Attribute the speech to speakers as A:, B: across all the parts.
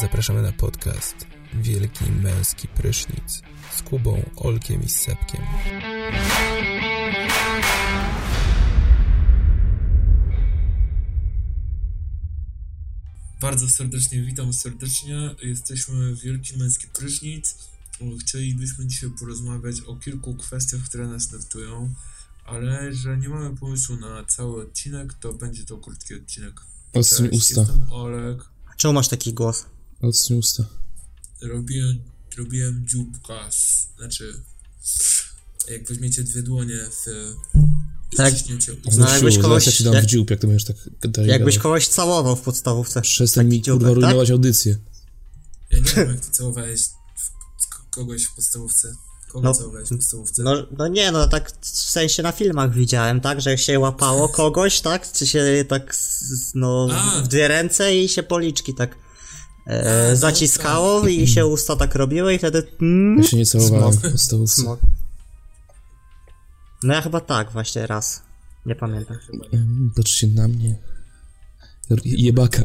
A: Zapraszamy na podcast Wielki Męski Prysznic z Kubą, Olkiem i Sepkiem.
B: Bardzo serdecznie witam serdecznie. Jesteśmy Wielki Męski Prysznic. Chcielibyśmy dzisiaj porozmawiać o kilku kwestiach, które nas nurtują, ale że nie mamy pomysłu na cały odcinek, to będzie to krótki odcinek.
C: Odsuń
B: Cześć,
C: usta.
B: Jestem Olek.
D: Czemu masz taki głos?
C: Odsuń usta.
B: Robiłem, robiłem dzióbka, z, znaczy jak weźmiecie dwie dłonie w znaczy,
D: Tak.
B: ściśnięcie
C: No,
B: usta.
C: no
D: ale jakbyś kogoś-
C: ja ci dam
D: jak-
C: w dziób, jak to będziesz tak dalej
D: Jakbyś
C: gadał.
D: kogoś całował w podstawówce.
C: Przestań mi
D: dzióbek,
C: kurwa
D: tak?
C: rujnować audycję.
B: Ja nie wiem jak ty całowałeś w, k- kogoś w podstawówce. Kogo
D: No.
B: całowałeś w podstawówce?
D: No, no nie, no tak w sensie na filmach widziałem, tak? Że się łapało kogoś, tak? Czy się tak, s- s- no,
B: A.
D: w dwie ręce i się policzki tak
B: A, no
D: e, zaciskało i się usta tak robiły i wtedy...
C: Ja
D: Mm,
C: się nie całowałem w
D: Smok.
C: podstawówce.
D: smok. No ja chyba tak właśnie raz. Nie pamiętam.
B: Chyba nie.
C: Mm, Patrzcie na mnie. R- Jebaka.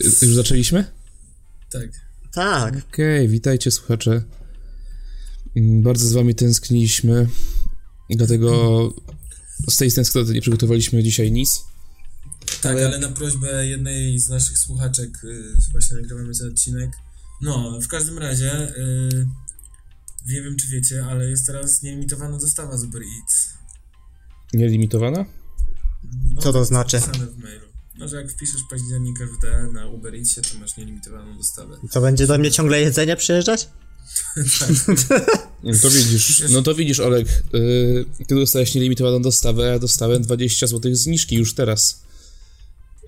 C: Już zaczęliśmy?
B: Tak.
D: Tak,
C: Okej, witajcie słuchacze. Mm, Bardzo z wami tęskniliśmy, dlatego z tej tęsknoty nie przygotowaliśmy dzisiaj nic.
B: Tak, ale na prośbę jednej z naszych słuchaczek y, właśnie nagrywamy ten odcinek. No, w każdym razie, y, nie wiem czy wiecie, ale jest teraz nielimitowana dostawa z Uber Eats.
C: Nielimitowana?
B: No,
D: Co to
B: jest
D: znaczy?
B: Wpisane w mailu. No, że jak wpiszesz październik FD na Uber Eatsie, to masz nielimitowaną dostawę.
D: to będzie do mnie ciągle jedzenie przyjeżdżać?
C: No to widzisz, no to widzisz, Olek, yy, ty dostałeś nielimitowaną dostawę, a ja dostałem 20 zł zniżki już teraz.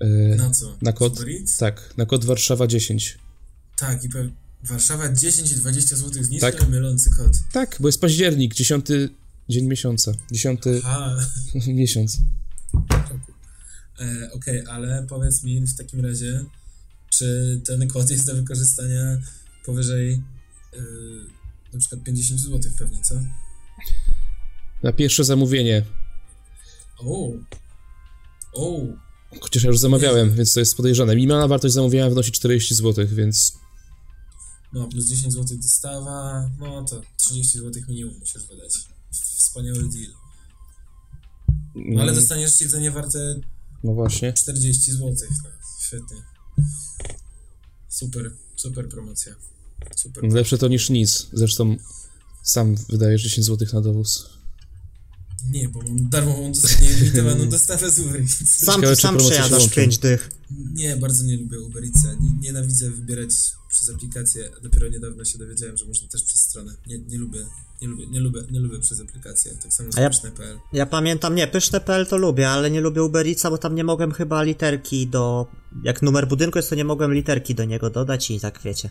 C: Yy,
B: Na co?
C: na kod?
B: Z Uber Eats?
C: tak, na kod Warszawa 10.
B: Tak, i pe- Warszawa 10 i 20 zł zniżki,
C: Tak.
B: tak. mylący kod.
C: Tak, bo jest październik, 10 dzień miesiąca, 10
B: Ha,
C: miesiąc.
B: e, okej, ale powiedz mi w takim razie, czy ten kod jest do wykorzystania powyżej e, na przykład 50 zł pewnie, co?
C: Na pierwsze zamówienie,
B: O, o,
C: chociaż ja już zamawiałem, więc to jest podejrzane. Minimalna wartość zamówienia wynosi 40 zł, więc
B: no plus 10 zł dostawa, no to 30 zł minimum musisz wydać. Wspaniały deal. No,
C: Mm.
B: ale dostaniesz jedzenie warte
C: no właśnie.
B: 40 zł. No, świetnie. Super, super promocja. Super.
C: Lepsze to niż nic, zresztą sam wydajesz 10 zł na dowóz.
B: Nie, bo mam darmową dostawę, nielimitowaną dostawę z Uber Eats.
D: Sam,
C: Ciekawe, czy
D: sam
C: promocja się
D: przejadasz
C: łączy.
D: pięć dych.
B: Nie, bardzo nie lubię Uber Eatsa. Nie- Nienawidzę wybierać przez aplikację. a Dopiero niedawno się dowiedziałem, że można też przez stronę. Nie, nie lubię, nie lubię, nie lubię, nie lubię przez aplikację. Tak samo
D: A ja-
B: z ja...
D: Ja pamiętam, nie, pyszne.pl to lubię, ale nie lubię Uberica, bo tam nie mogłem chyba literki do. Jak numer budynku jest, to nie mogłem literki do niego dodać i tak wiecie.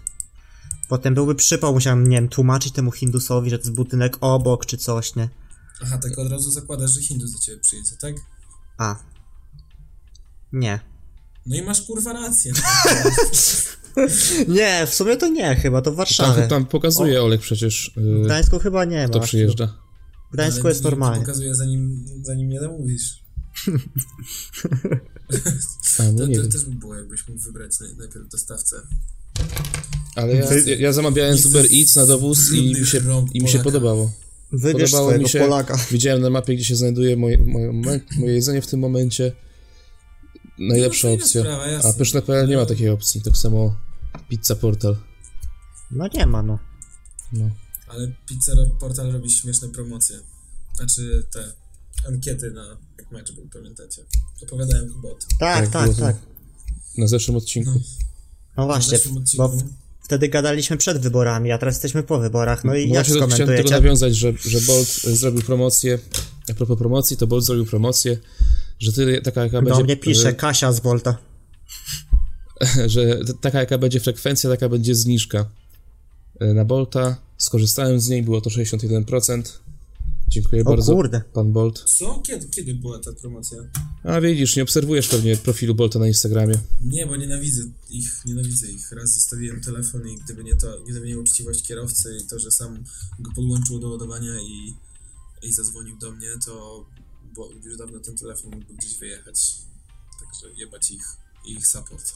D: Potem byłby przypał, musiałem, nie wiem, tłumaczyć temu Hindusowi, że to jest budynek obok czy coś, nie?
B: Aha, tak od razu zakładasz, że Hindus do ciebie przyjedzie, tak?
D: A. Nie.
B: No i masz kurwa rację.
D: Nie, w sumie to nie chyba,
C: Tak,
D: to w Warszawie.
C: Tam, tam pokazuje Olek przecież,
D: W
C: yy,
D: Gdańsku chyba nie ma.
C: kto przyjeżdża.
D: W Gdańsku
B: Ale
D: jest
B: nie- nie
D: normalnie. No
B: Pokazuję zanim, zanim nie namówisz.
C: A, no
B: To,
C: nie
B: to
C: wiem.
B: też by było, jakbyś mógł wybrać naj, najpierw dostawcę.
C: Ale ja,
D: Wy-
C: ja, ja zamawiałem z Uber Eats na dowóz i mi się,
B: Brudnych rąk
C: i mi się
B: Polaka.
C: podobało.
D: Wybierz
C: Podobało mi
D: swojego
C: się.
D: Polaka.
C: Widziałem na mapie, gdzie się znajduje moje, moje, moje- moje jedzenie w tym momencie. Najlepsza
B: No, fajna
C: opcja.
B: sprawa, jasne.
C: A pyszne.pl nie ma takiej opcji. Tak samo Pizza Portal.
D: No nie ma, no.
C: No.
B: Ale Pizza Portal robi śmieszne promocje. Znaczy te ankiety na jak mecz był, pamiętacie? Opowiadałem chyba o tym.
D: Tak,
C: Tak,
D: tak,
C: było to.
D: tak.
C: Na zeszłym odcinku.
D: No
B: W
D: właśnie,
B: naszym odcinku.
D: bo wtedy gadaliśmy przed wyborami, a teraz jesteśmy po wyborach, no i
C: No
D: jak
C: właśnie do- chciałem do tego
D: skomentujecie?
C: nawiązać, że, że Bolt e, zrobił promocję. A propos promocji, to Bolt zrobił promocję, że tyle, taka jaka
D: Do
C: będzie...
D: No, mnie pisze
C: e,
D: Kasia z Volta.
C: że t- taka jaka będzie frekwencja, taka będzie zniżka E, na Bolta. Skorzystałem z niej, było to 61%. Dziękuję
D: O
C: bardzo,
D: kurde.
C: pan Bolt.
B: Co? Kiedy, kiedy była ta promocja?
C: A widzisz, nie obserwujesz pewnie profilu Bolta na Instagramie.
B: Nie, bo nienawidzę ich, nienawidzę ich. Raz zostawiłem telefon i gdyby nie to, gdyby nie uczciwość kierowcy i to, że sam go podłączył do ładowania i, i zadzwonił do mnie, to bo już dawno ten telefon mógł gdzieś wyjechać. Także jebać ich i ich support.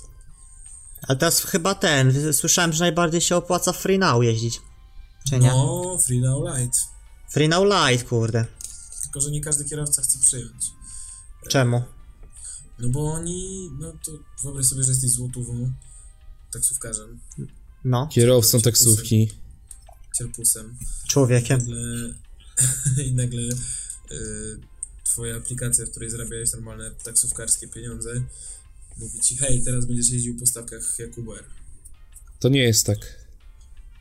D: Ale teraz chyba ten, słyszałem, że najbardziej się opłaca Free Now jeździć. Czy nie?
B: No, Free Now Light.
D: Free Now Light, kurde.
B: Tylko, że nie każdy kierowca chce przyjąć.
D: Czemu?
B: No bo oni, no to wyobraź sobie, że jesteś złotówą, taksówkarzem,
D: No,
B: Znaczy,
C: Kierowcą taksówki.
B: cierpusem.
D: człowiekiem.
B: nagle, i nagle y, twoja aplikacja, w której zarabiałeś normalne taksówkarskie pieniądze, mówi ci, hej, teraz będziesz jeździł po stawkach jak Uber.
C: To nie jest tak.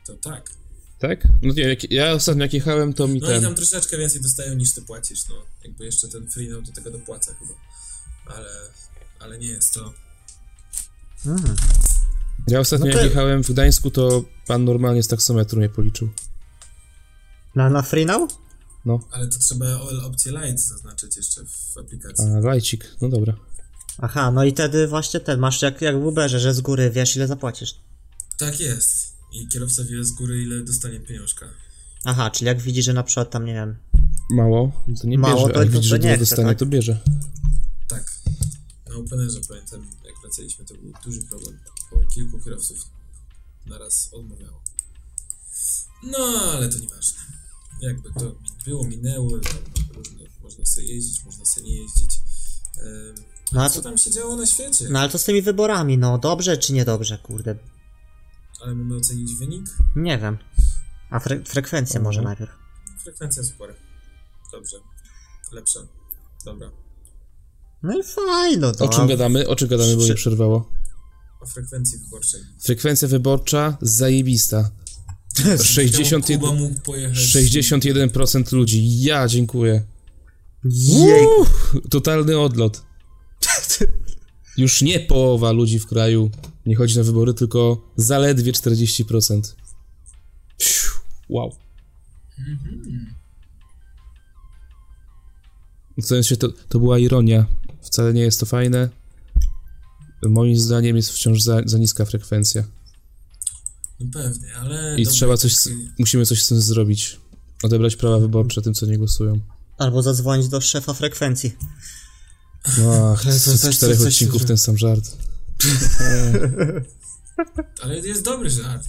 B: To tak.
C: Tak? No nie, jak, ja ostatnio jak jechałem, to mi
B: No i
C: ten...
B: tam troszeczkę więcej dostają niż ty płacisz, no. Jakby jeszcze ten freenow do tego dopłaca chyba. Ale, ale nie jest to.
D: Mm.
C: Ja ostatnio
D: No to-
C: jak jechałem w Gdańsku, to pan normalnie z taksometru mnie policzył.
D: Na, na Free Now?
C: No,
B: Ale to trzeba all opcję light zaznaczyć jeszcze w aplikacji.
C: a lajcik, no dobra.
D: Aha, no i wtedy właśnie ten, masz jak, jak w Uberze, że z góry wiesz ile zapłacisz.
B: Tak jest. I kierowca wie z góry, ile dostanie pieniążka.
D: Aha, czyli jak widzi, że na przykład tam, nie wiem,
C: Mało, to nie
D: Mało,
C: bierze,
D: to-
C: ale
D: to-
C: widzisz,
D: to
C: że
D: nie
C: dużo
D: chce,
C: dostanie,
D: tak.
C: to bierze.
B: Tak. Na Openerze pamiętam, jak wracaliśmy, to był duży problem, bo kilku kierowców naraz odmawiało. No, ale to nieważne. Jakby to mi- było, minęło, różne, można sobie jeździć, można sobie nie jeździć. Ym,
D: No,
B: a
D: a
B: co
D: to-
B: tam się działo na świecie?
D: no ale to z tymi wyborami, no dobrze czy niedobrze, kurde.
B: Ale mamy ocenić wynik?
D: Nie wiem. A fre- frekwencję
C: Mhm.
D: może najpierw.
B: Frekwencja super. Dobrze. Lepsza. Dobra.
D: No i fajno, no.
C: O czym gadamy? O czym gadamy, bo
D: Przy-
C: mnie przerwało.
B: O frekwencji wyborczej.
C: Frekwencja wyborcza zajebista. 61,
B: Kuba mógł pojechać.
C: 61% ludzi. Ja dziękuję.
D: Jej,
C: Uff, totalny odlot. Już nie połowa ludzi w kraju nie chodzi na wybory, tylko zaledwie 40%. Psiu, Wow. W sensie to, to była ironia. Wcale nie jest to fajne. Moim zdaniem jest wciąż za, za niska frekwencja.
B: No pewnie, ale.
C: I
B: dobra,
C: trzeba coś. z-
B: taki-
C: Musimy coś z tym zrobić. Odebrać prawa wyborcze tym, co nie głosują.
D: Albo zadzwonić do szefa frekwencji.
C: No,
B: Ale to
C: z
B: coś-
C: czterech
B: coś- coś-
C: odcinków ten sam żart.
B: Ale jest dobry żart.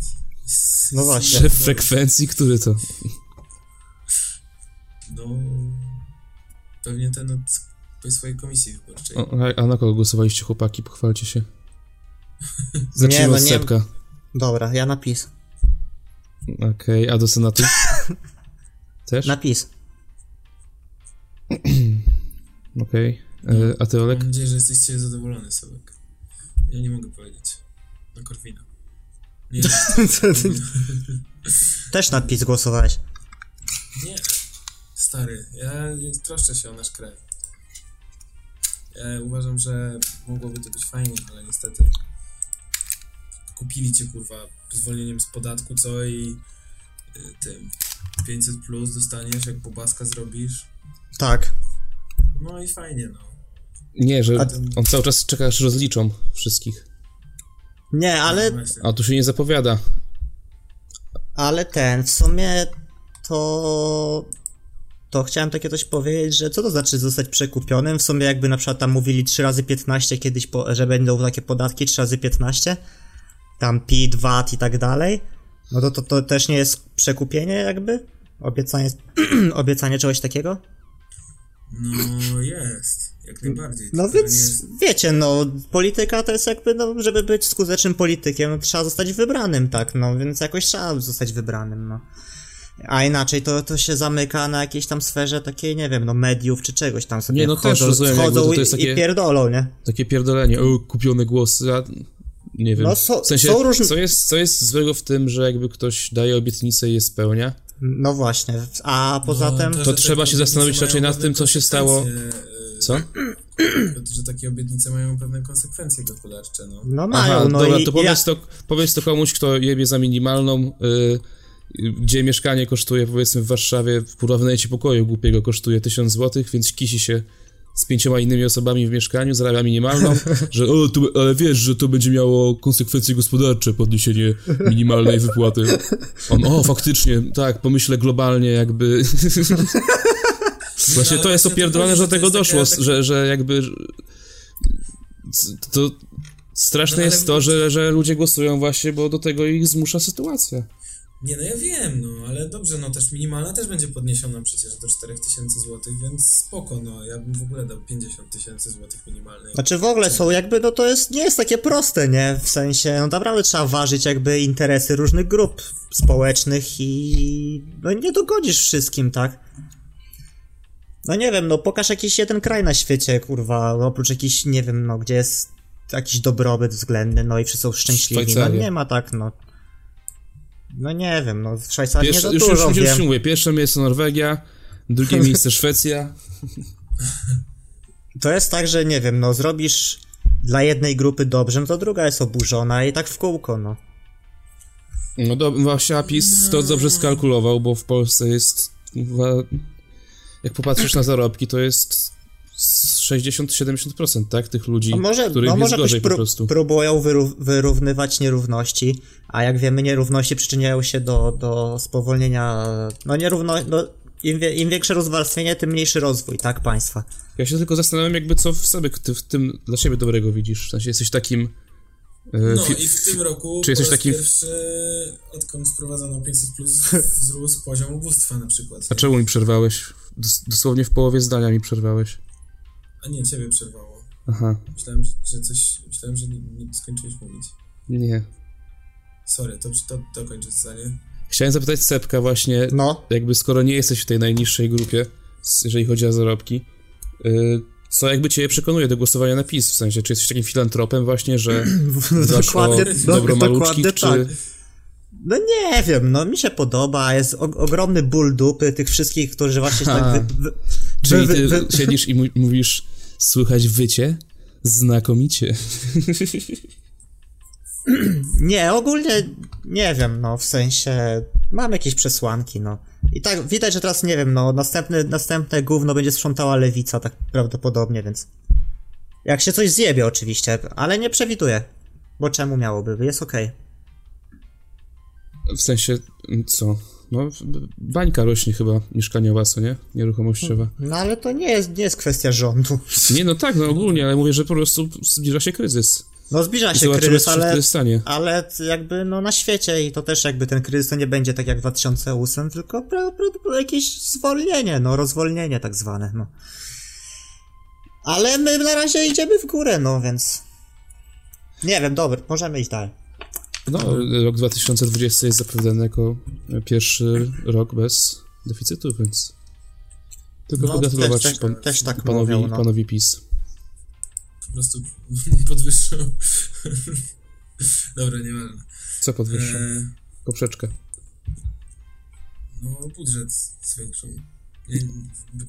D: No właśnie.
C: Szef frekwencji, który to?
B: No. Pewnie ten od Państwowej Komisji Wyborczej.
C: O, a- a na kogo głosowaliście, chłopaki? Pochwalcie się. Zacznijmy
D: no
C: od
D: nie-
C: Sepka.
D: Dobra, ja napis.
C: Okej, a do Senatu? Też?
D: Napis.
C: Okej. E, A ty, Olek?
B: Mam nadzieję, że jesteście zadowolony, Sobek. Ja nie mogę powiedzieć. Na Korwina. Nie,
D: Też napis głosowałeś.
B: nie. Stary, ja troszczę się o nasz kraj. Ja uważam, że mogłoby to być fajnie, ale niestety. Kupili cię kurwa zwolnieniem z podatku, co i y, tym 500 plus dostaniesz, jak pobaska zrobisz.
D: Tak.
B: No i fajnie, no.
C: Nie, że
D: A-
C: on cały czas czeka, aż rozliczą wszystkich.
D: Nie, ale,
B: Właśnie.
C: A tu się nie zapowiada.
D: ale ten, w sumie to... To chciałem takie coś powiedzieć, że co to znaczy zostać przekupionym? W sumie jakby na przykład tam mówili 3 razy 15 kiedyś, po, że będą takie podatki 3 razy 15, tam PIT, VAT i tak dalej, no to, to to też nie jest przekupienie jakby? Obiecanie, obiecanie czegoś takiego?
B: No jest, jak najbardziej.
D: No
B: tylko
D: więc
B: nie jest-
D: wiecie, no polityka to jest jakby, no żeby być skutecznym politykiem, no, trzeba zostać wybranym, tak, no więc jakoś trzeba zostać wybranym, no. A inaczej to, to się zamyka na jakiejś tam sferze takiej, nie wiem, no mediów czy czegoś tam sobie
C: Nie, no też rozumiem, jakby,
D: wchodzą
C: że to jest
D: i,
C: takie-
D: i pierdolą, nie?
C: Takie pierdolenie, o, kupione głosy, a nie wiem.
D: No, są-
C: w sensie,
D: są różne-
C: co, jest, co jest złego w tym, że jakby ktoś daje obietnicę i je spełnia?
D: No właśnie, a poza
B: No,
D: tym,
B: że
C: to
B: te
C: trzeba się
B: obietnice
C: zastanowić
B: mają
C: raczej nad
B: pewne
C: tym, co się stało.
B: konsekwencje, y,
C: Co?
B: Że takie obietnice mają pewne konsekwencje gospodarcze, no.
D: no mają, no
C: dobra,
D: i
C: to
D: i ja,
C: powiedz, to powiedz to komuś, kto jebie za minimalną, y, y, gdzie mieszkanie kosztuje, powiedzmy w Warszawie, w porównaniu pokoju głupiego kosztuje 1000 zł, więc kisi się z pięcioma innymi osobami w mieszkaniu, zarabia minimalną, że o, tu, ale wiesz, że to będzie miało konsekwencje gospodarcze, podniesienie minimalnej wypłaty. On, o, faktycznie, tak, pomyślę globalnie jakby... Właśnie
B: ale
C: to jest
B: właśnie No, to
C: opierdolone,
B: chodzi, że
C: że do
B: to
C: tego
B: jest
C: doszło,
B: taka-
C: że, że jakby... c- to straszne
E: No, ale-
C: jest to, że, że ludzie głosują właśnie, bo do tego ich zmusza sytuacja.
B: Nie, no ja wiem, no, ale dobrze, no też minimalna też będzie podniesiona przecież do 4000 zł, więc spoko, no, ja bym w ogóle dał 50 tysięcy złotych minimalnej.
D: Znaczy w ogóle są jakby, no to jest, nie jest takie proste, nie? W sensie, no naprawdę trzeba ważyć jakby interesy różnych grup społecznych i no nie dogodzisz wszystkim, tak? No nie wiem, no pokaż jakiś jeden kraj na świecie, kurwa, no, oprócz jakiś, nie wiem, no gdzie jest jakiś dobrobyt względny, no i wszyscy są szczęśliwi, no
C: Szwajcaria.
D: nie ma tak, no. No nie wiem, no w Szwajcarii
C: Pierwsze,
D: nie
C: już,
D: za
C: już,
D: dużo
C: już,
D: wiem.
C: już mówię, pierwsze miejsce Norwegia, drugie miejsce Szwecja.
D: To jest tak, że nie wiem, no zrobisz dla jednej grupy dobrze, no to druga jest oburzona i tak w kółko, no.
C: No do, właśnie APIS to dobrze skalkulował, bo w Polsce jest, kurwa, jak popatrzysz na zarobki, to jest z 60-70% tak, tych ludzi,
D: No może,
C: których
D: no
C: jest
D: może
C: gorzej
D: jakoś
C: po
D: pró-
C: prostu.
D: próbują wyró- wyrównywać nierówności, a jak wiemy, nierówności przyczyniają się do, do spowolnienia. No nierówno. No, im, wie- Im większe rozwarstwienie, tym mniejszy rozwój, tak państwa.
C: Ja się tylko zastanawiam jakby co w sobie, ty, w tym dla siebie dobrego widzisz, w sensie jesteś takim... e,
B: No
C: fi-
B: i w tym roku
C: czy jesteś
B: po raz
C: takim-
B: pierwszy, odkąd wprowadzono 500 plus, wzrósł poziom ubóstwa na przykład.
C: A czemu mi przerwałeś? Dos- Dosłownie w połowie zdania mi przerwałeś.
B: A nie, ciebie przerwało.
C: Aha,
B: Myślałem, że- że coś, myślałem, że nie, nie skończyłeś mówić.
C: nie.
B: Sorry, to, to, to kończę zdanie.
C: Chciałem zapytać Sepka właśnie,
D: No,
C: jakby skoro nie jesteś w tej najniższej grupie, s- jeżeli chodzi o zarobki, y, co jakby cię przekonuje do głosowania na PiS? W sensie, czy jesteś takim filantropem właśnie, że dbasz
D: dokładnie,
C: o
D: do,
C: dobro maluczki,
D: dokładnie
C: czy...
D: tak. No nie wiem, no mi się podoba, jest o, ogromny ból dupy tych wszystkich, którzy właśnie się
C: Ha.
D: tak wy, wy,
C: Czyli
D: wy-
C: ty
D: wy-
C: siedzisz i mu- mówisz, słychać wycie? Znakomicie.
D: Nie, ogólnie nie wiem, no w sensie mam jakieś przesłanki, no. I tak widać, że teraz nie wiem, no następny, następne gówno będzie sprzątała lewica, tak prawdopodobnie, więc. Jak się coś zjebie, oczywiście, ale nie przewiduję. Bo czemu miałoby? Jest okej.
C: W sensie, m, co? No, b- bańka rośnie chyba mieszkaniowa, co nie? Nieruchomościowa.
D: No ale to nie jest, nie jest kwestia rządu.
C: Nie, no tak, no ogólnie, ale mówię, że po prostu zbliża się kryzys.
D: No zbliża
C: I
D: się
C: zobaczymy,
D: kryzys,
C: co się
D: ale,
C: wtedy stanie.
D: ale jakby no na świecie i to też jakby ten kryzys to nie będzie tak jak 2008, tylko pra- pra- jakieś zwolnienie, no rozwolnienie tak zwane, no. Ale my na razie idziemy w górę, no więc... Nie wiem, dobra, możemy iść dalej.
C: No, rok 2020 jest zapowiadany jako e, pierwszy rok bez deficytu, więc tylko
D: No,
C: pogratulować
D: też- też-
C: pan,
D: też tak
C: panowi,
D: mówią, no.
C: panowi PiS.
B: Po prostu podwyższył. Dobra, nieważne.
C: Co podwyższył?
D: Mm.
B: E,
C: Poprzeczkę.
B: no, budżet zwiększył. Nie-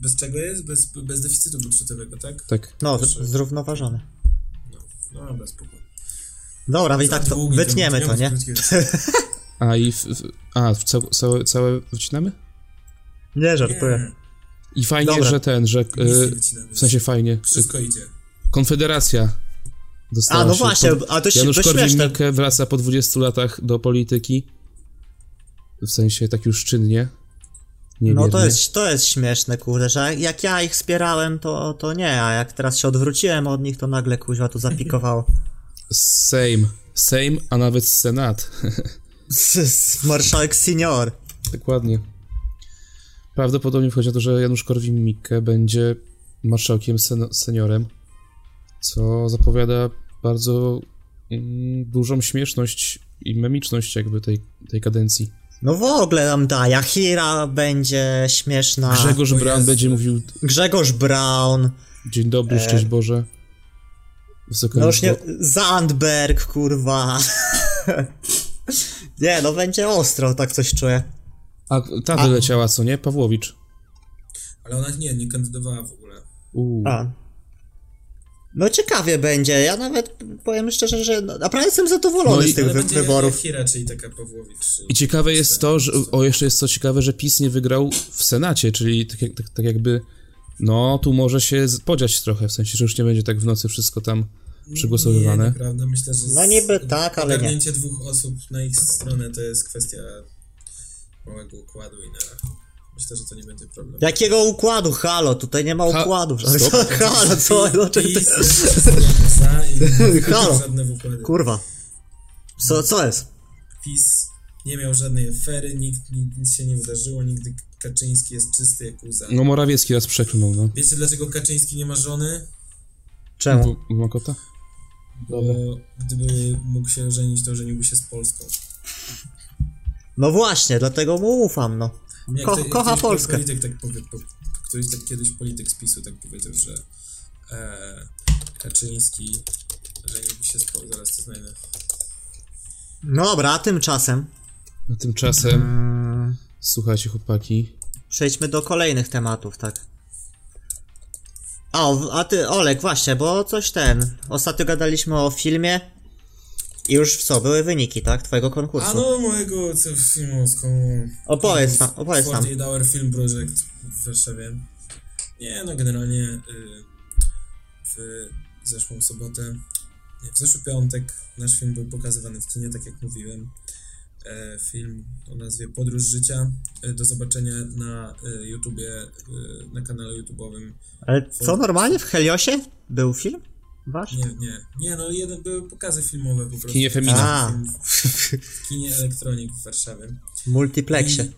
B: Bez czego jest? Bez, bez deficytu budżetowego, tak?
C: Tak.
D: No,
B: Proszę.
D: zrównoważony.
B: No, dobra, spoko.
D: Dobra, więc tak to
B: Długi
D: wytniemy
B: temat,
D: to, nie?
B: miałem krótkie-
C: A i w, w, a, w cał, całe, całe wycinamy?
D: Nie, żartuję.
B: Nie,
C: I fajnie,
D: Dobra.
C: że ten, że e,
B: nic nie wycinamy.
C: w sensie fajnie.
B: Wszystko idzie.
C: e, Konfederacja dostała
D: A, no
C: się
D: właśnie,
C: pod-
D: a to się
C: Janusz
D: to śmieszne.
C: Korwin-Mikke wraca po 20 latach do polityki. W sensie tak już czynnie. Nie
D: No to jest, to jest śmieszne, kurde, że jak ja ich wspierałem, to, to nie, a jak teraz się odwróciłem od nich, to nagle kuźwa to zapikowało.
C: Sejm. Sejm, a nawet Senat.
D: Zzz, Marszałek senior.
C: Dokładnie. Prawdopodobnie wchodzi na to, że Janusz Korwin-Mikke będzie marszałkiem sen- seniorem, co zapowiada bardzo mm, dużą śmieszność i memiczność jakby tej, tej kadencji.
D: No w ogóle nam da, Jachira będzie śmieszna.
C: Grzegorz
B: o
C: Braun
B: Jezu.
C: będzie mówił
D: Grzegorz Brown.
C: dzień dobry, szczęść Boże. Wysoka
D: E, No już nie,
C: Izbo.
D: Zandberg, kurwa. nie, no będzie ostro, tak coś czuję.
C: A ta
D: A.
C: wyleciała, co nie? Pawłowicz.
B: Ale ona nie, nie kandydowała w ogóle.
C: Uuu.
D: A. No ciekawie będzie, ja nawet powiem szczerze, że no, naprawdę jestem zadowolony
C: No i-
D: z tych
B: Ale
D: wy-
B: będzie
D: wyborów.
B: Hira, czyli taka Pawłowicz.
C: I ciekawe jest to, że, o jeszcze jest co ciekawe, że PiS nie wygrał w Senacie, czyli tak, jak- tak, tak jakby, no tu może się z- podziać trochę, w sensie, że już nie będzie tak w nocy wszystko tam
B: Nie,
C: przegłosowywane.
B: naprawdę myślę, że. z-
D: No niby tak, ale nie.
B: ogarnięcie dwóch osób na ich stronę to jest kwestia małego układu i na. Myślę, że to nie będzie problem.
D: Jakiego układu? Halo, tutaj nie ma
C: Ha-
D: układu.
C: Stop.
D: Halo, co? No, czy
B: I
D: ty...
B: za i nie
D: Halo.
B: miał żadne układy.
D: Kurwa. Co, co jest?
B: PiS nie miał żadnej afery, nikt, nikt, nic się nie wydarzyło, nigdy Kaczyński jest czysty jak łza.
C: No Morawiecki raz przeklnął, no.
B: Wiecie dlaczego Kaczyński nie ma żony?
D: Czemu?
C: Bo- Ma kota? Dobra.
B: Bo gdyby mógł się żenić, to żeniłby się z Polską.
D: No właśnie, dlatego mu ufam, no.
B: Nie,
D: Ko-
B: kto-
D: kocha
B: ktoś-
D: Polskę.
B: Polityk tak powie, po, któryś tak kiedyś polityk z PiSu tak powiedział, że e, Kaczyński żeniłby się z Polską. Zaraz to znajdę.
D: No dobra, a tymczasem
C: A tymczasem,
D: Mm.
C: słuchajcie chłopaki,
D: przejdźmy do kolejnych tematów, tak. A, o, a ty, Olek, właśnie, bo coś ten. Ostatnio gadaliśmy o filmie i już w co były wyniki, tak? Twojego konkursu.
B: A no, mojego co, filmu z komu...
D: Opowiedz nam, opowiedz nam.
B: 48 Hour Film Project w Warszawie. Nie, no generalnie y, w zeszłą sobotę, nie, w zeszły piątek nasz film był pokazywany w kinie, tak jak mówiłem. E, film o nazwie Podróż Życia. E, do zobaczenia na y, YouTubie, y, na kanale YouTubeowym.
D: Ale co, normalnie w Heliosie był film? Wasz?
B: Nie, nie, nie, no jeden, były pokazy filmowe po prostu.
C: kinie Femina.
D: A.
B: W, w kinie Elektronik w Warszawie.
D: W multiplexie.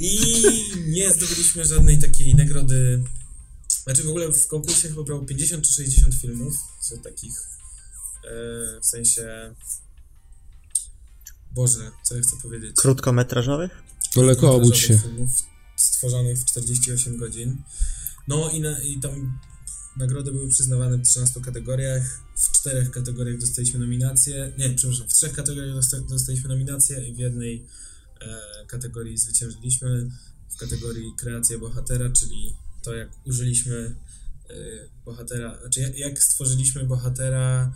B: I nie zdobyliśmy żadnej takiej nagrody. Znaczy w ogóle w konkursie chyba brało 50 czy 60 filmów, co takich e, w sensie. Boże, co ja chcę powiedzieć?
D: Krótkometrażowych?
C: Daleko obudź się.
B: Filmów stworzonych w 48 godzin. No i, na, i tam nagrody były przyznawane w 13 kategoriach. W czterech kategoriach dostaliśmy nominację. Nie, przepraszam, w trzech kategoriach dosta- dostaliśmy nominację i w jednej e, kategorii zwyciężyliśmy. W kategorii kreacja bohatera, czyli to jak użyliśmy e, bohatera, znaczy jak, jak stworzyliśmy bohatera,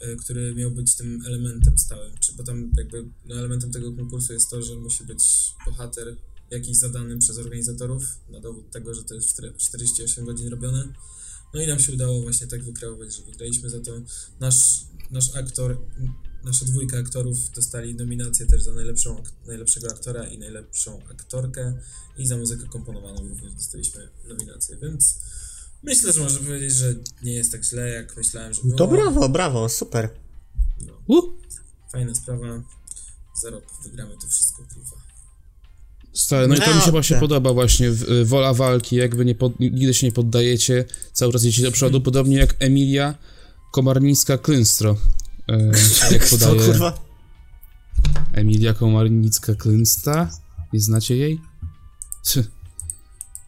B: e, który miał być tym elementem stałym, czy bo tam jakby no, elementem tego konkursu jest to, że musi być bohater jakiś zadany przez organizatorów na dowód tego, że to jest w czter- 48 godzin robione. No i nam się udało właśnie tak wykreować, że wygraliśmy za to. Nasz, nasz aktor, m, nasza dwójka aktorów dostali nominację też za najlepszą, ak- najlepszego aktora i najlepszą aktorkę i za muzykę komponowaną również dostaliśmy nominację, więc myślę, że można powiedzieć, że nie jest tak źle, jak myślałem, że było.
D: To brawo, brawo, super.
B: No,
C: U,
B: fajna sprawa. Za rok wygramy to wszystko, kurwa.
C: Stary, no i to mi się
D: Naprawdę.
C: właśnie podoba właśnie, w- y, wola walki, jakby nie pod, nigdy się nie poddajecie, cały czas jedziecie do przodu, podobnie jak Emilia Komarnicka-Klynstro, e, jak
D: Co
C: podaje
D: kurwa?
C: Emilia Komarnicka-Klynsta, nie znacie jej? Tch.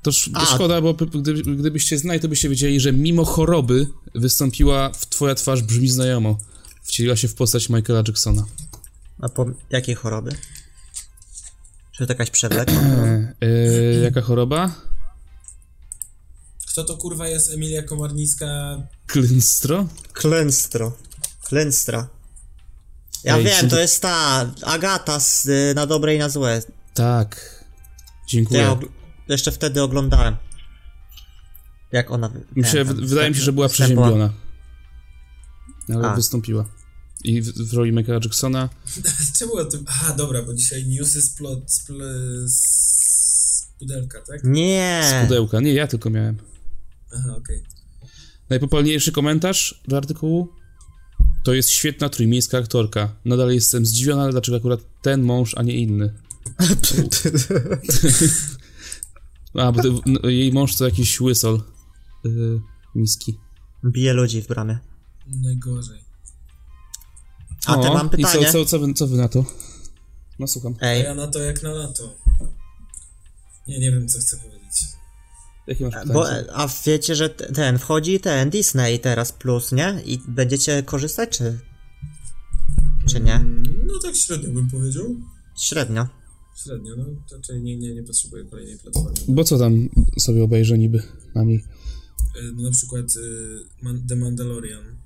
C: To, sz, to
D: A.
C: szkoda, bo p- gdyby, gdybyście znali, to byście wiedzieli, że mimo choroby wystąpiła w Twoja twarz brzmi znajomo. Wcieliła się w postać Michaela Jacksona.
D: A po jakiej choroby? Czy to jakaś przewlekła?
C: E, e,
D: Mm-hmm.
C: jaka choroba?
B: Kto to kurwa jest Emilia Komarnicka?
C: Klynstro?
D: Klęstro. Klęstra. Ja
C: Ej,
D: wiem,
C: czy-
D: to jest ta Agata z, y, na dobre i na złe.
C: Tak.
D: To
C: Dziękuję.
D: ja og- jeszcze wtedy oglądałem. Jak ona. wy-
C: Mi się,
D: ten-
C: w,
D: ten-
C: wydaje mi się, że była
D: wstępła.
C: przeziębiona. Ale
D: A.
C: wystąpiła. I w, w roli Michaela Jacksona.
B: Czemu o tym? Aha, dobra, bo dzisiaj newsy z, plot, z, pl- z pudelka, tak?
D: Nie!
C: Pudełka. Nie, ja tylko miałem.
B: Aha, okej.
C: Najpoprawniejszy komentarz do artykułu? To jest świetna trójmiejska aktorka. Nadal jestem zdziwiona, dlaczego akurat ten mąż, a nie inny. A, bo to, no, jej mąż to jakiś łysol. Yy, niski.
D: Bije ludzi w bramie.
B: Najgorzej.
D: A te mam pytanie.
C: No. I co, co, co, wy, co wy na to? No słucham.
B: A
D: Ej,
B: ja na to jak na lato. Nie, nie wiem, co chcę powiedzieć.
C: Jakie masz pytanie?
D: bo, a wiecie, że te- ten wchodzi ten Disney teraz plus, nie? I będziecie korzystać, czy. Czy nie?
B: Mm, No tak średnio bym powiedział.
D: Średnio.
B: Średnio, no raczej nie, nie, nie potrzebuję kolejnej platformy.
C: Bo co tam sobie obejrzę niby na niej?
B: Y, No, na przykład y, Man- The Mandalorian.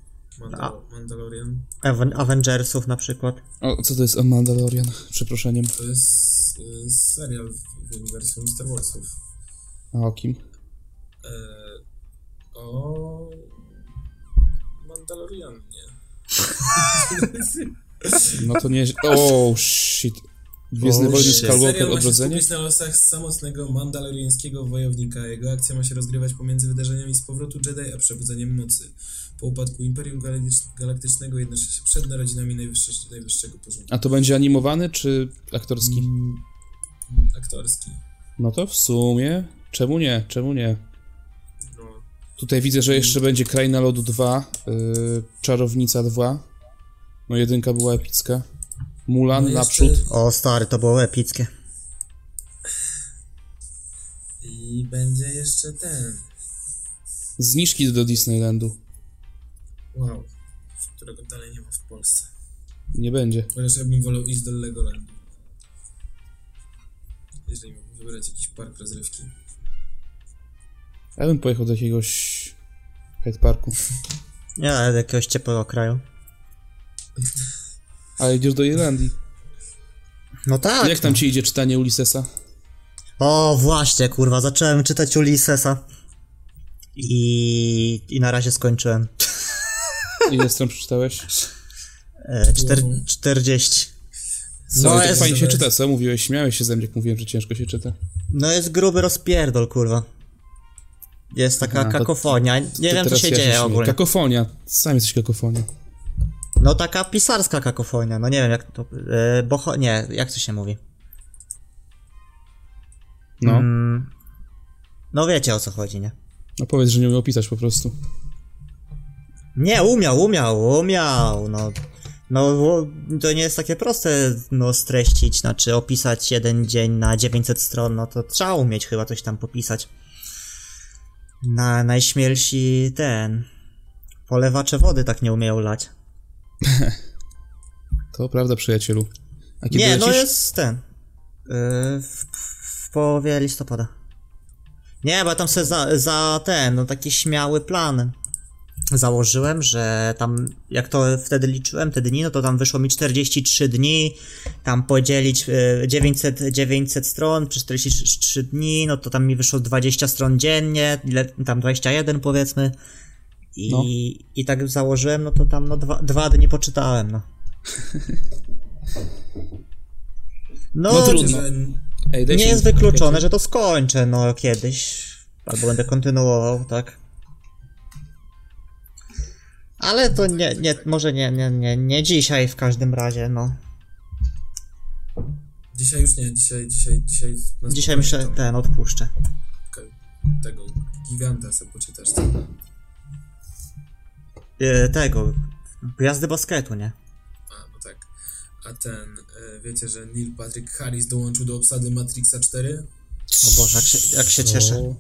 B: Mandal- Mandalorian
D: Aven- Avengersów na przykład.
C: O, co to jest o Mandalorian? Przeproszeniem.
B: to jest y, serial w, w uniwersum Star Warsów.
C: A o kim?
B: E, o. Mandalorianie.
C: No to nie... O, shit. Gwiezdne
D: O,
C: Wojny
D: shit.
C: Skywalker
B: Serial ma się
C: Odrodzenie?
B: skupić na losach samotnego mandaloriańskiego wojownika. Jego akcja ma się rozgrywać pomiędzy wydarzeniami z powrotu Jedi a przebudzeniem mocy. Po upadku Imperium Galaktyc- Galaktycznego jednocześnie przed narodzinami najwyższe- najwyższego poziomu.
C: A to będzie animowany czy aktorski?
B: Mm, Aktorski.
C: No to w sumie, czemu nie, czemu nie? Mm.
E: No,
C: Tutaj widzę, że jeszcze będzie Kraina Lodu 2, yy, Czarownica 2. No jedynka była epicka. Mulan
B: No jeszcze-
C: naprzód.
D: O stary, to było epickie.
B: I będzie jeszcze ten.
C: Zniżki do Disneylandu.
B: Wow. Którego dalej nie ma w Polsce.
C: Nie będzie.
B: Chociaż ja bym wolał iść do Legolandu. Jeżeli mógłbym wybrać jakiś park rozrywki.
C: Ja bym pojechał do jakiegoś Hyde Parku.
D: Nie, ale do jakiegoś ciepłego kraju.
C: Ale idziesz do Irlandii.
D: No tak.
C: Jak tam ci idzie czytanie Ulyssesa?
D: O, właśnie, kurwa, zacząłem czytać Ulyssesa. I, I na razie skończyłem.
C: Ile stron przeczytałeś?
D: E, czter, 40.
C: Co,
D: No,
C: tak
D: jest-
C: fajnie się
B: jest-
C: czyta, co? Mówiłeś, śmiałeś się ze mnie, jak mówiłem, że ciężko się czyta.
D: No jest gruby rozpierdol, kurwa. Jest taka
C: A, to-
D: kakofonia. Nie
C: Ty
D: wiem, co
C: teraz
D: się
C: ja
D: dzieje
C: śmieję.
D: ogólnie.
C: Kakofonia. Sam jesteś kakofonią.
D: No taka pisarska kakofonia, no nie wiem jak to... Yy, boho... nie, jak to się mówi?
C: No.
D: Mm, no wiecie o co chodzi, nie?
C: No powiedz, że nie umiał pisać po prostu.
D: Nie, umiał, umiał, umiał, no... No wo- to nie jest takie proste, no streścić, znaczy opisać jeden dzień na 900 stron, no to trzeba umieć chyba coś tam popisać. Na najśmielsi ten... Polewacze wody tak nie umieją lać.
C: To prawda, przyjacielu. A kiedy
D: Nie, no
C: lecisz?
D: jest ten. Yy, w, w połowie listopada. Nie, bo ja tam sobie za, za ten, no taki śmiały plan założyłem, że tam, jak to wtedy liczyłem, te dni, no to tam wyszło mi 43 dni, tam podzielić yy, 900, 900 stron przez 43 dni, no to tam mi wyszło 20 stron dziennie, ile, tam 21 powiedzmy. I,
C: No.
D: i tak założyłem, no to tam no dwa, dwa dni poczytałem, no. No,
C: No trudno.
B: Że
C: Ej, daj
D: nie
C: się-
D: jest wykluczone, że to skończę, no kiedyś. Albo będę kontynuował, tak. Ale to nie, nie może nie, nie, nie, nie dzisiaj w każdym razie, no.
B: Dzisiaj już nie, dzisiaj, dzisiaj, dzisiaj. na
D: Dzisiaj
B: spokojnie
D: myślę, tak.
B: to
D: ten odpuszczę.
B: Tego giganta sobie poczytasz.
D: E, tego. Gwiazdy basketu, nie?
B: A, no tak. A ten, e, wiecie, że Neil Patrick Harris dołączył do obsady Matrixa 4?
D: O Boże, jak się, jak się cieszę.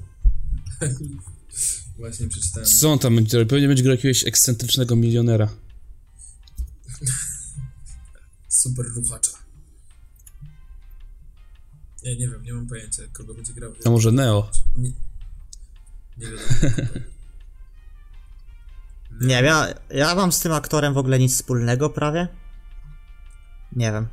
B: Właśnie przeczytałem.
C: Co on tam będzie robił? Pewnie będzie grał jakiegoś ekscentrycznego milionera.
B: Super ruchacza. Nie, nie wiem, nie mam pojęcia, kogo będzie grał.
C: A może Neo?
B: Nie, nie wiadomo.
D: Nie wiem, ja, ja mam z tym aktorem w ogóle nic wspólnego prawie. Nie wiem.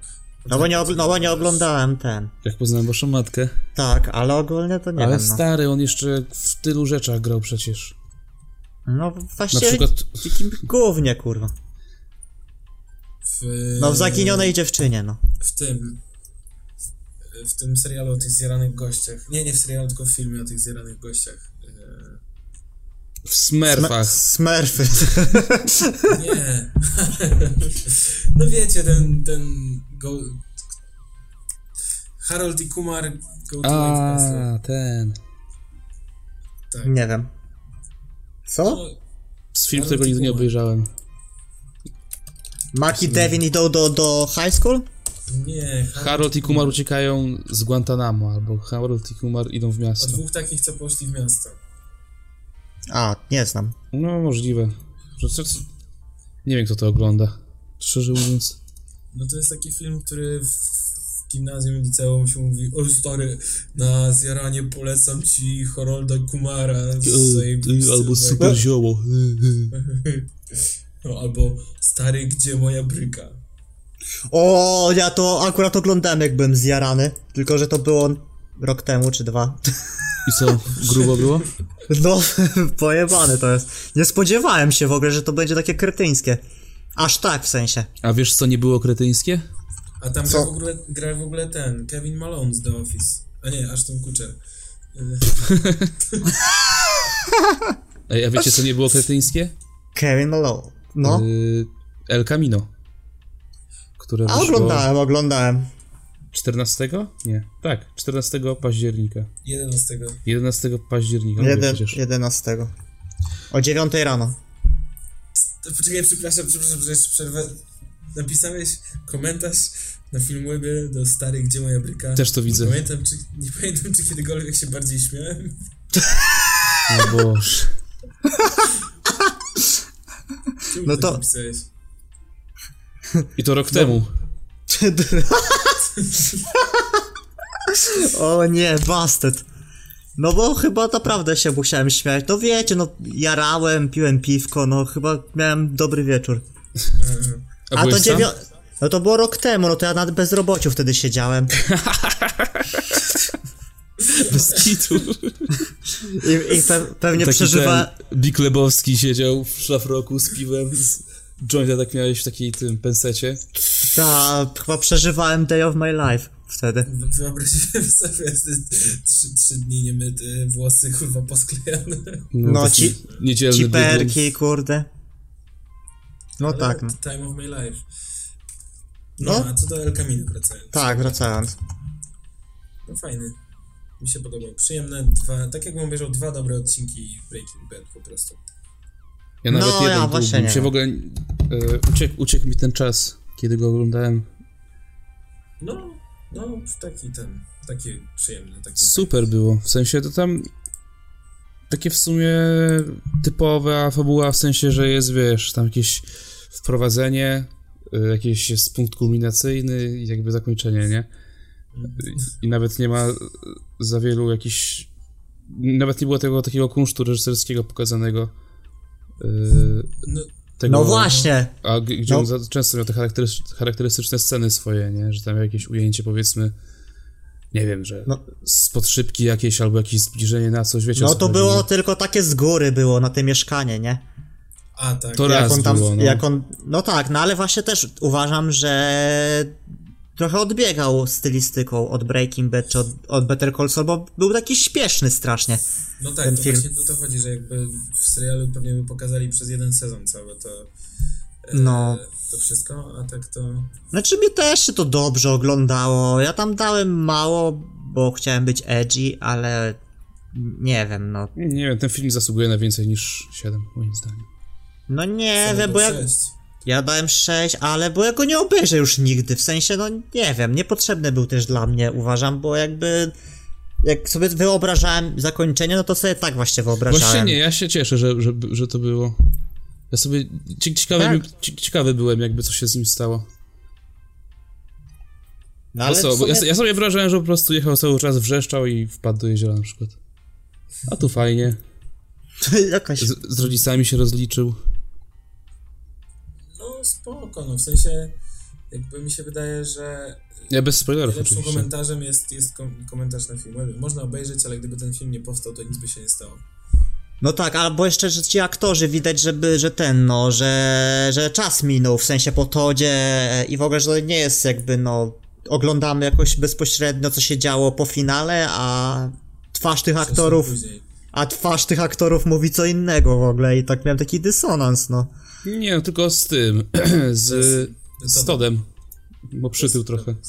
D: No bo nie, obl- no bo nie oglądałem ten.
C: Jak poznałem waszą matkę.
D: Tak, ale ogólnie to nie
C: Ale
D: wiem. No.
C: stary, on jeszcze w tylu rzeczach grał przecież.
D: no
C: Na
D: właśnie.
C: przykład...
D: W jakim głównie, kurwa.
B: W,
D: No w zaginionej dziewczynie, no.
B: w tym w tym serialu o tych zjaranych gościach. Nie, nie w serialu, tylko w filmie o tych zjaranych gościach.
C: W Smurfach.
D: Smerfy.
B: E, Nie. no wiecie, ten, ten go... Harold i Kumar go to White Castle.
C: A, ten.
D: Nie wiem. Co?
B: No,
C: Z filmu
B: Ale
C: tego
B: to
C: nigdy nie
B: było.
C: obejrzałem.
D: Maki Devin idą do, do high school?
B: nie,
C: Harold i Kumar uciekają z Guantanamo, albo Harold i Kumar idą w
B: o
C: miasto.
B: dwóch takich, co poszli w miasto.
D: A, nie znam.
C: No, możliwe. Że co- co- Nie wiem, kto to ogląda. Szczerze mówiąc.
B: No to jest taki film, który w, w gimnazjum, liceum się mówi Oj stary, na zjaranie polecam ci Harolda Kumara. z
C: Y,
B: zajebistym
D: tak.
B: wek-
C: zioło.
B: No, albo stary, gdzie moja bryka?
D: O, ja to akurat oglądałem jak byłem zjarany. Tylko, że to było rok temu czy dwa.
C: I co, grubo było?
D: No, pojebane to jest. Nie spodziewałem się w ogóle, że to będzie takie kretyńskie. Aż tak w sensie.
C: A wiesz co nie było kretyńskie?
B: A tam
F: Co?
B: gra w, ogóle, gra w ogóle ten, Kevin Malone z The Office. A nie, Ashton Kutcher. Y,
C: Ej, a wiecie co nie było kretyńskie?
D: Kevin Malone. No.
C: Y, El Camino. Które
D: A
C: wyszło
D: oglądałem, oglądałem.
C: 14? Nie. Tak, 14 października.
B: 11.
C: 11 października. mówię
D: Jeden,
C: No, przecież.
D: 11. O 9 rano.
B: To Poczekaj, przepraszam, przepraszam, że jeszcze przerwę. Napisałeś komentarz na filmwebie do starych Gdzie moja bryka.
C: Też to
B: Nie
C: widzę.
B: pamiętam, czy, nie pamiętam, czy kiedykolwiek się bardziej śmiałem.
C: O Boże.
B: Czemu
D: No
B: ty
D: to-
B: napisałeś?
C: I to rok
D: No.
C: temu.
D: o nie, bastard. No bo chyba naprawdę się musiałem śmiać. No wiecie, no jarałem, piłem piwko, no chyba miałem dobry wieczór.
C: A,
D: A
C: byłeś
D: to
C: sam?
D: dziewią... No to było rok temu, no to ja na bezrobociu wtedy siedziałem.
C: Bez kitu.
D: I, i pe- pewnie
C: Taki
D: przeżywa...
C: ten Big Lebowski siedział w szafroku z piwem. Z... Jointa tak miałeś w takiej tym pensecie.
D: Ta, chyba przeżywałem day of my life wtedy.
B: Wy- Wyobraziłem sobie te trzy, trzy dni niemyty, włosy kurwa posklejane.
D: No,
C: taki
D: ci-
C: niedzielny
D: Ciperki, kurde. No
B: Ale
D: tak, no.
B: Time of my life. No,
D: No.
B: a co do El Camino wracając.
D: Tak, wracając.
B: No fajny. Mi się podobał. Przyjemne dwa, tak jakbym obejrzał dwa dobre odcinki Breaking Bad po prostu.
C: Ja nawet
D: No,
C: jeden
D: ja
C: ja
D: właśnie nie
C: się w
D: wiem.
C: ogóle e, uciekł, uciekł mi ten czas, kiedy go oglądałem.
B: No, no taki ten, taki przyjemny. Taki
C: Super było. W sensie to tam takie w sumie typowa fabuła, w sensie, że jest, wiesz, tam jakieś wprowadzenie, y, jakiś jest punkt kulminacyjny i jakby zakończenie, nie? I nawet nie ma za wielu jakichś... Nawet nie było tego takiego kunsztu reżyserskiego pokazanego. y,
B: No,
C: tego,
D: No właśnie!
C: A g- gdzie
D: No.
C: on za- często miał te charakterys- charakterystyczne sceny swoje, nie? Że tam miał jakieś ujęcie, powiedzmy, nie wiem, że
D: No.
C: spod szybki jakieś albo jakieś zbliżenie na coś, wiecie o
D: No
C: co
D: to
C: chodzi,
D: było
C: nie?
D: tylko takie z góry było na te mieszkanie, nie?
B: A tak.
C: To
D: Jak
C: raz
D: on tam,
C: było, no.
D: jak on, no tak, no ale właśnie też uważam, że trochę odbiegał stylistyką od Breaking Bad czy od, od Better Call Saul, bo był taki śpieszny strasznie.
B: No tak,
D: ten
B: to
D: film.
B: właśnie o to chodzi, że jakby w serialu pewnie by pokazali przez jeden sezon całe to, e,
D: No.
B: to wszystko, a tak to...
D: Znaczy mnie też się to dobrze oglądało, ja tam dałem mało, bo chciałem być edgy, ale nie wiem, no.
C: Nie wiem, ten film zasługuje na więcej niż 7, moim zdaniem.
D: No nie
B: to
D: wiem, bo ja,
B: sześć.
D: ja dałem 6, ale bo ja go nie obejrzę już nigdy, w sensie, no nie wiem, niepotrzebny był też dla mnie, uważam, bo jakby... Jak sobie wyobrażałem zakończenie, no to sobie tak właśnie wyobrażałem.
C: Właśnie nie, ja się cieszę, że, że, że to było. Ja sobie cie- ciekawy,
D: Tak.
C: bym- cie- ciekawy byłem, jakby co się z nim stało.
D: No
C: Ale
D: ale
C: co,
D: w
C: bo ja,
D: sumie-
C: so- ja sobie wyobrażałem, że po prostu jechał cały czas, wrzeszczał i wpadł do jeziora na przykład. A tu fajnie.
D: Jakaś...
C: Z, z rodzicami się rozliczył.
B: No spoko, no w sensie jakby mi się wydaje, że
C: Ja bez spoilerów
B: najlepszym
C: oczywiście.
B: komentarzem jest, jest kom- komentarz na filmie. Można obejrzeć, ale gdyby ten film nie powstał, to nic by się nie stało.
D: No tak, albo jeszcze, że ci aktorzy widać, żeby, że ten, no, że, że czas minął, w sensie po Todzie e, i w ogóle, że to nie jest jakby, no, oglądamy jakoś bezpośrednio, co się działo po finale, a twarz tych aktorów,
B: Później.
D: a twarz tych aktorów mówi co innego w ogóle i tak miałem taki dysonans, no.
C: Nie, no tylko z tym, z,
B: jest-
C: z Todem, bo przytył trochę.
B: Tak.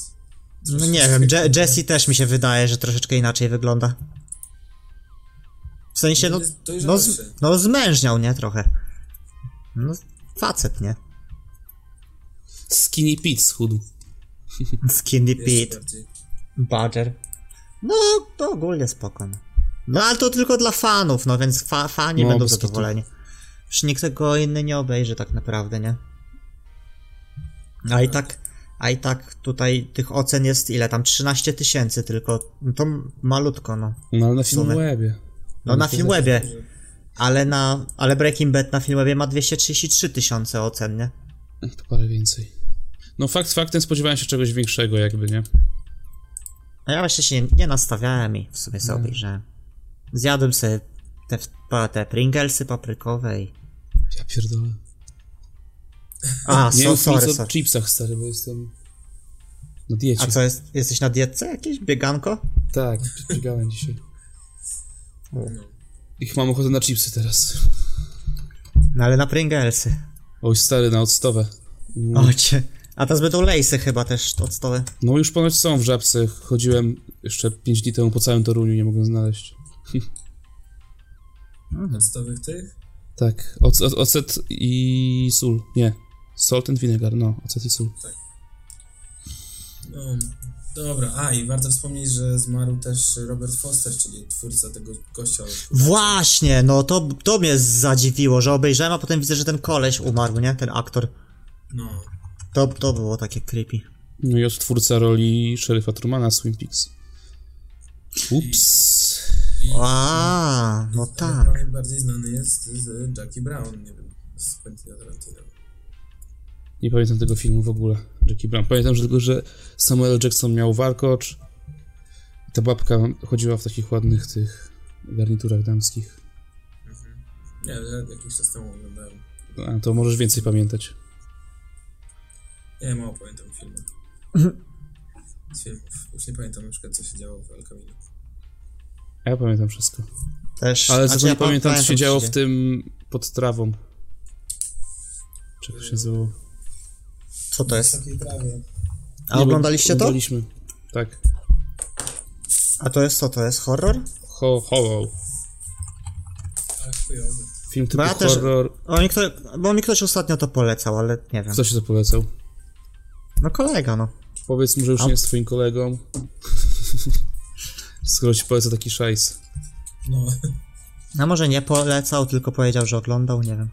D: No nie wiem, Je- Jesse też mi się wydaje, że troszeczkę inaczej wygląda. W sensie, no,
B: Jest
D: no,
B: dojrzalszy.
D: z, no zmężniał, nie, trochę. No, facet, nie?
C: Skinny Pete schudł.
D: Skinny
B: Jeszcze
D: Pete.
B: bardziej.
D: Badger. No, to ogólnie spoko. No. no ale to tylko dla fanów, no więc fa fani
C: No,
D: będą
C: bez kitu.
D: zadowoleni. Już nikt tego inny nie obejrzy tak naprawdę, nie? A i tak, a i tak tutaj tych ocen jest ile tam? 13 tysięcy tylko. No to m- malutko, no.
C: No ale na
D: sumie.
C: Filmwebie.
D: No na Filmwebie. Ale na, ale Breaking Bad na Filmwebie ma 233 tysiące ocen, nie?
C: To parę więcej. No fakt faktem spodziewałem się czegoś większego jakby, nie?
D: No ja właśnie się nie, nie nastawiałem i w sumie sobie
C: Mm.
D: obejrzałem. Zjadłem sobie te, pa- te Pringlesy paprykowe i...
C: Ja pierdolę.
D: A,
C: Nie
D: so,
C: mów
D: sorry,
C: nic o
D: sorry.
C: chipsach, stary, bo jestem... Na diecie.
D: A co, jest, jesteś na dietce jakieś? Bieganko?
C: Tak, biegałem dzisiaj.
D: O.
C: Ich mam ochotę na chipsy teraz.
D: No ale na Pringlesy.
C: Oj, stary, na odstawę. Mm.
D: Ocie. A teraz będą lejsy chyba też octowe.
C: No już ponoć są w Żabce. Chodziłem jeszcze 5 dni temu po całym Toruniu, nie mogłem znaleźć.
B: Podstawowych tych?
C: Tak, oc- o- ocet i sól. Nie, salt and vinegar, no, ocet i sól.
B: No, dobra, a i warto wspomnieć, że zmarł też Robert Foster, czyli twórca tego gościa.
D: Właśnie, no to, to mnie zadziwiło, że obejrzałem, a potem widzę, że ten koleś umarł, nie? Ten aktor.
B: No,
D: To, to było takie creepy.
C: No i od twórca roli szeryfa Trumana z Twin Peaks. Ups.
D: A, no tak.
B: tak. bardziej znany jest z Jackie Brown, nie wiem, z Quentin Tarantino.
C: Nie pamiętam tego filmu w ogóle, Jackie Brown. Pamiętam że tylko, że Samuel Jackson miał warkocz. I ta babka chodziła w takich ładnych tych garniturach damskich.
B: Nie, ja jakiś czas temu oglądałem.
C: A, to możesz więcej pamiętać.
B: Nie, mało pamiętam filmu. Z filmów. Już nie pamiętam na przykład, co się działo w El Camino.
C: A ja pamiętam wszystko.
D: Też.
C: Ale znaczy,
D: znaczy,
C: nie
D: ja pa-
C: pamiętam, co się działo w
D: dzieje.
C: tym pod trawą. Czego się nazywało?
D: Co to jest?
B: Takiej trawie.
D: A oglądaliście to?
C: Oglądaliśmy. Tak.
D: A to jest co to jest? Horror?
C: Ho, ho.
B: Ale chujowy.
C: Film typu
D: Bo No ja też-
C: horror.
D: O, mi, kto, bo mi ktoś ostatnio to polecał, ale nie wiem.
C: Kto się to polecał?
D: No kolega, no.
C: Powiedz mu, że już
D: A-
C: nie jest twoim kolegą. Skoro ci poleca taki szajs.
B: No,
D: A może nie polecał, tylko powiedział, że oglądał, nie wiem.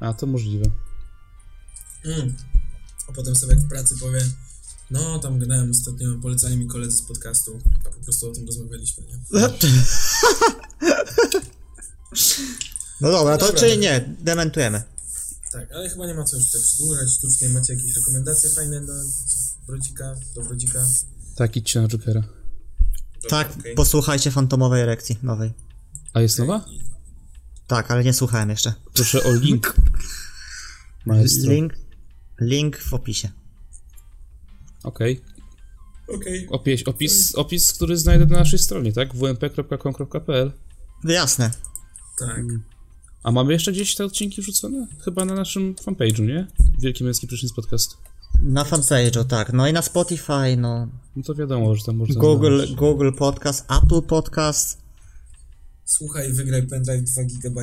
C: A, to możliwe.
B: Mm. A potem sobie jak w pracy powie, no tam gadałem ostatnio, polecali mi koledzy z podcastu, a po prostu o tym rozmawialiśmy, nie?
D: No dobra, to
B: Dobra.
D: czyli nie, dementujemy.
B: Tak, ale chyba nie ma co już tak przedłużać sztucznie, macie jakieś rekomendacje fajne do Wrodzika, do Wrodzika?
C: Tak, idźcie na Jokera.
B: Dobra,
D: Tak,
B: okej.
D: posłuchajcie fantomowej erekcji nowej.
C: A jest nowa?
D: Tak, ale nie słuchałem jeszcze.
C: Proszę o link. Maestro.
D: Link, link w opisie.
C: Okej.
B: Okej,
C: Opis, opis, opis, który znajdę na naszej stronie, tak? wmp.com.pl
D: Jasne.
B: tak.
C: A mamy jeszcze gdzieś te odcinki wrzucone? Chyba na naszym fanpage'u, nie? Wielki Męski Prysznic Podcast.
D: Na fanpage'u, tak. No i na Spotify, no.
C: No to wiadomo, że tam można
D: Google,
C: znaleźć.
D: Google Podcast, Apple Podcast.
B: Słuchaj, wygraj pendrive 2 GB.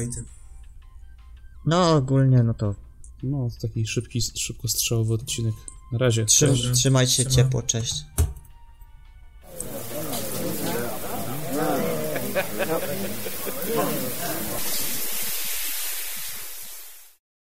D: No ogólnie, no to
C: No, to taki szybki, szybkostrzałowy odcinek. Na razie.
D: trzy,
C: Cześć.
D: trzymajcie się ciepło, cześć.